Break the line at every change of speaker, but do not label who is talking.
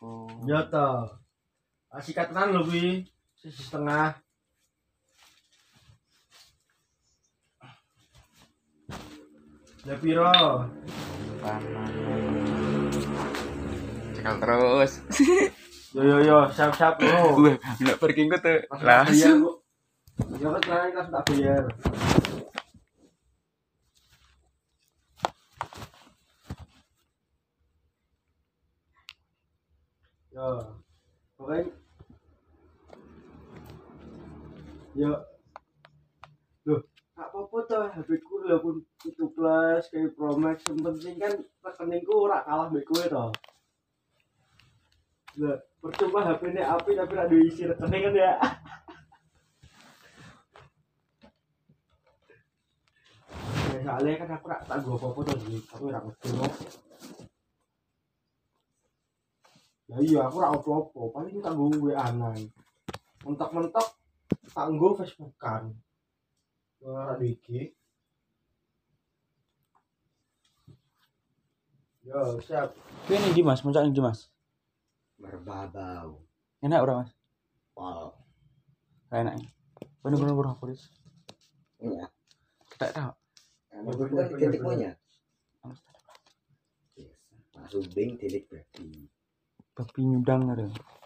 Oh.
Ya toh. Ah, Sikat tenan lho kuwi. Sisi setengah. Ya piro?
Panas. Cekal terus.
Yo yo yo, siap-siap lho.
Wah, nggak pergi gue tuh.
Langsung tak bayar,
Langsung.
kok. Iya, Ya kan tenan kan tak bayar. Yo. Oke. Yo. Ya. Loh, gak apa-apa toh HP ku lho pun itu plus kayak Pro Max yang penting kan rekeningku ora kalah mbek kowe toh. Lah, percuma HP ini api tapi ora duwe isi rekening kan ya. Ya, soalnya kan aku rak tak gua apa-apa tuh jadi aku rak ngono. Ya iya aku rak apa-apa paling tak gua WA nang. Mentok-mentok tak gua Facebookan. Ora di IG. Yo, siap.
Ini nih Dimas, muncak nih Dimas.
berbabau
Enak ora Mas?
pol
Ra enak. Bener bener bener polis.
ya
Tak tahu.
emang itu kan titik punya langsung bing titik berarti
Babi nyudang ada.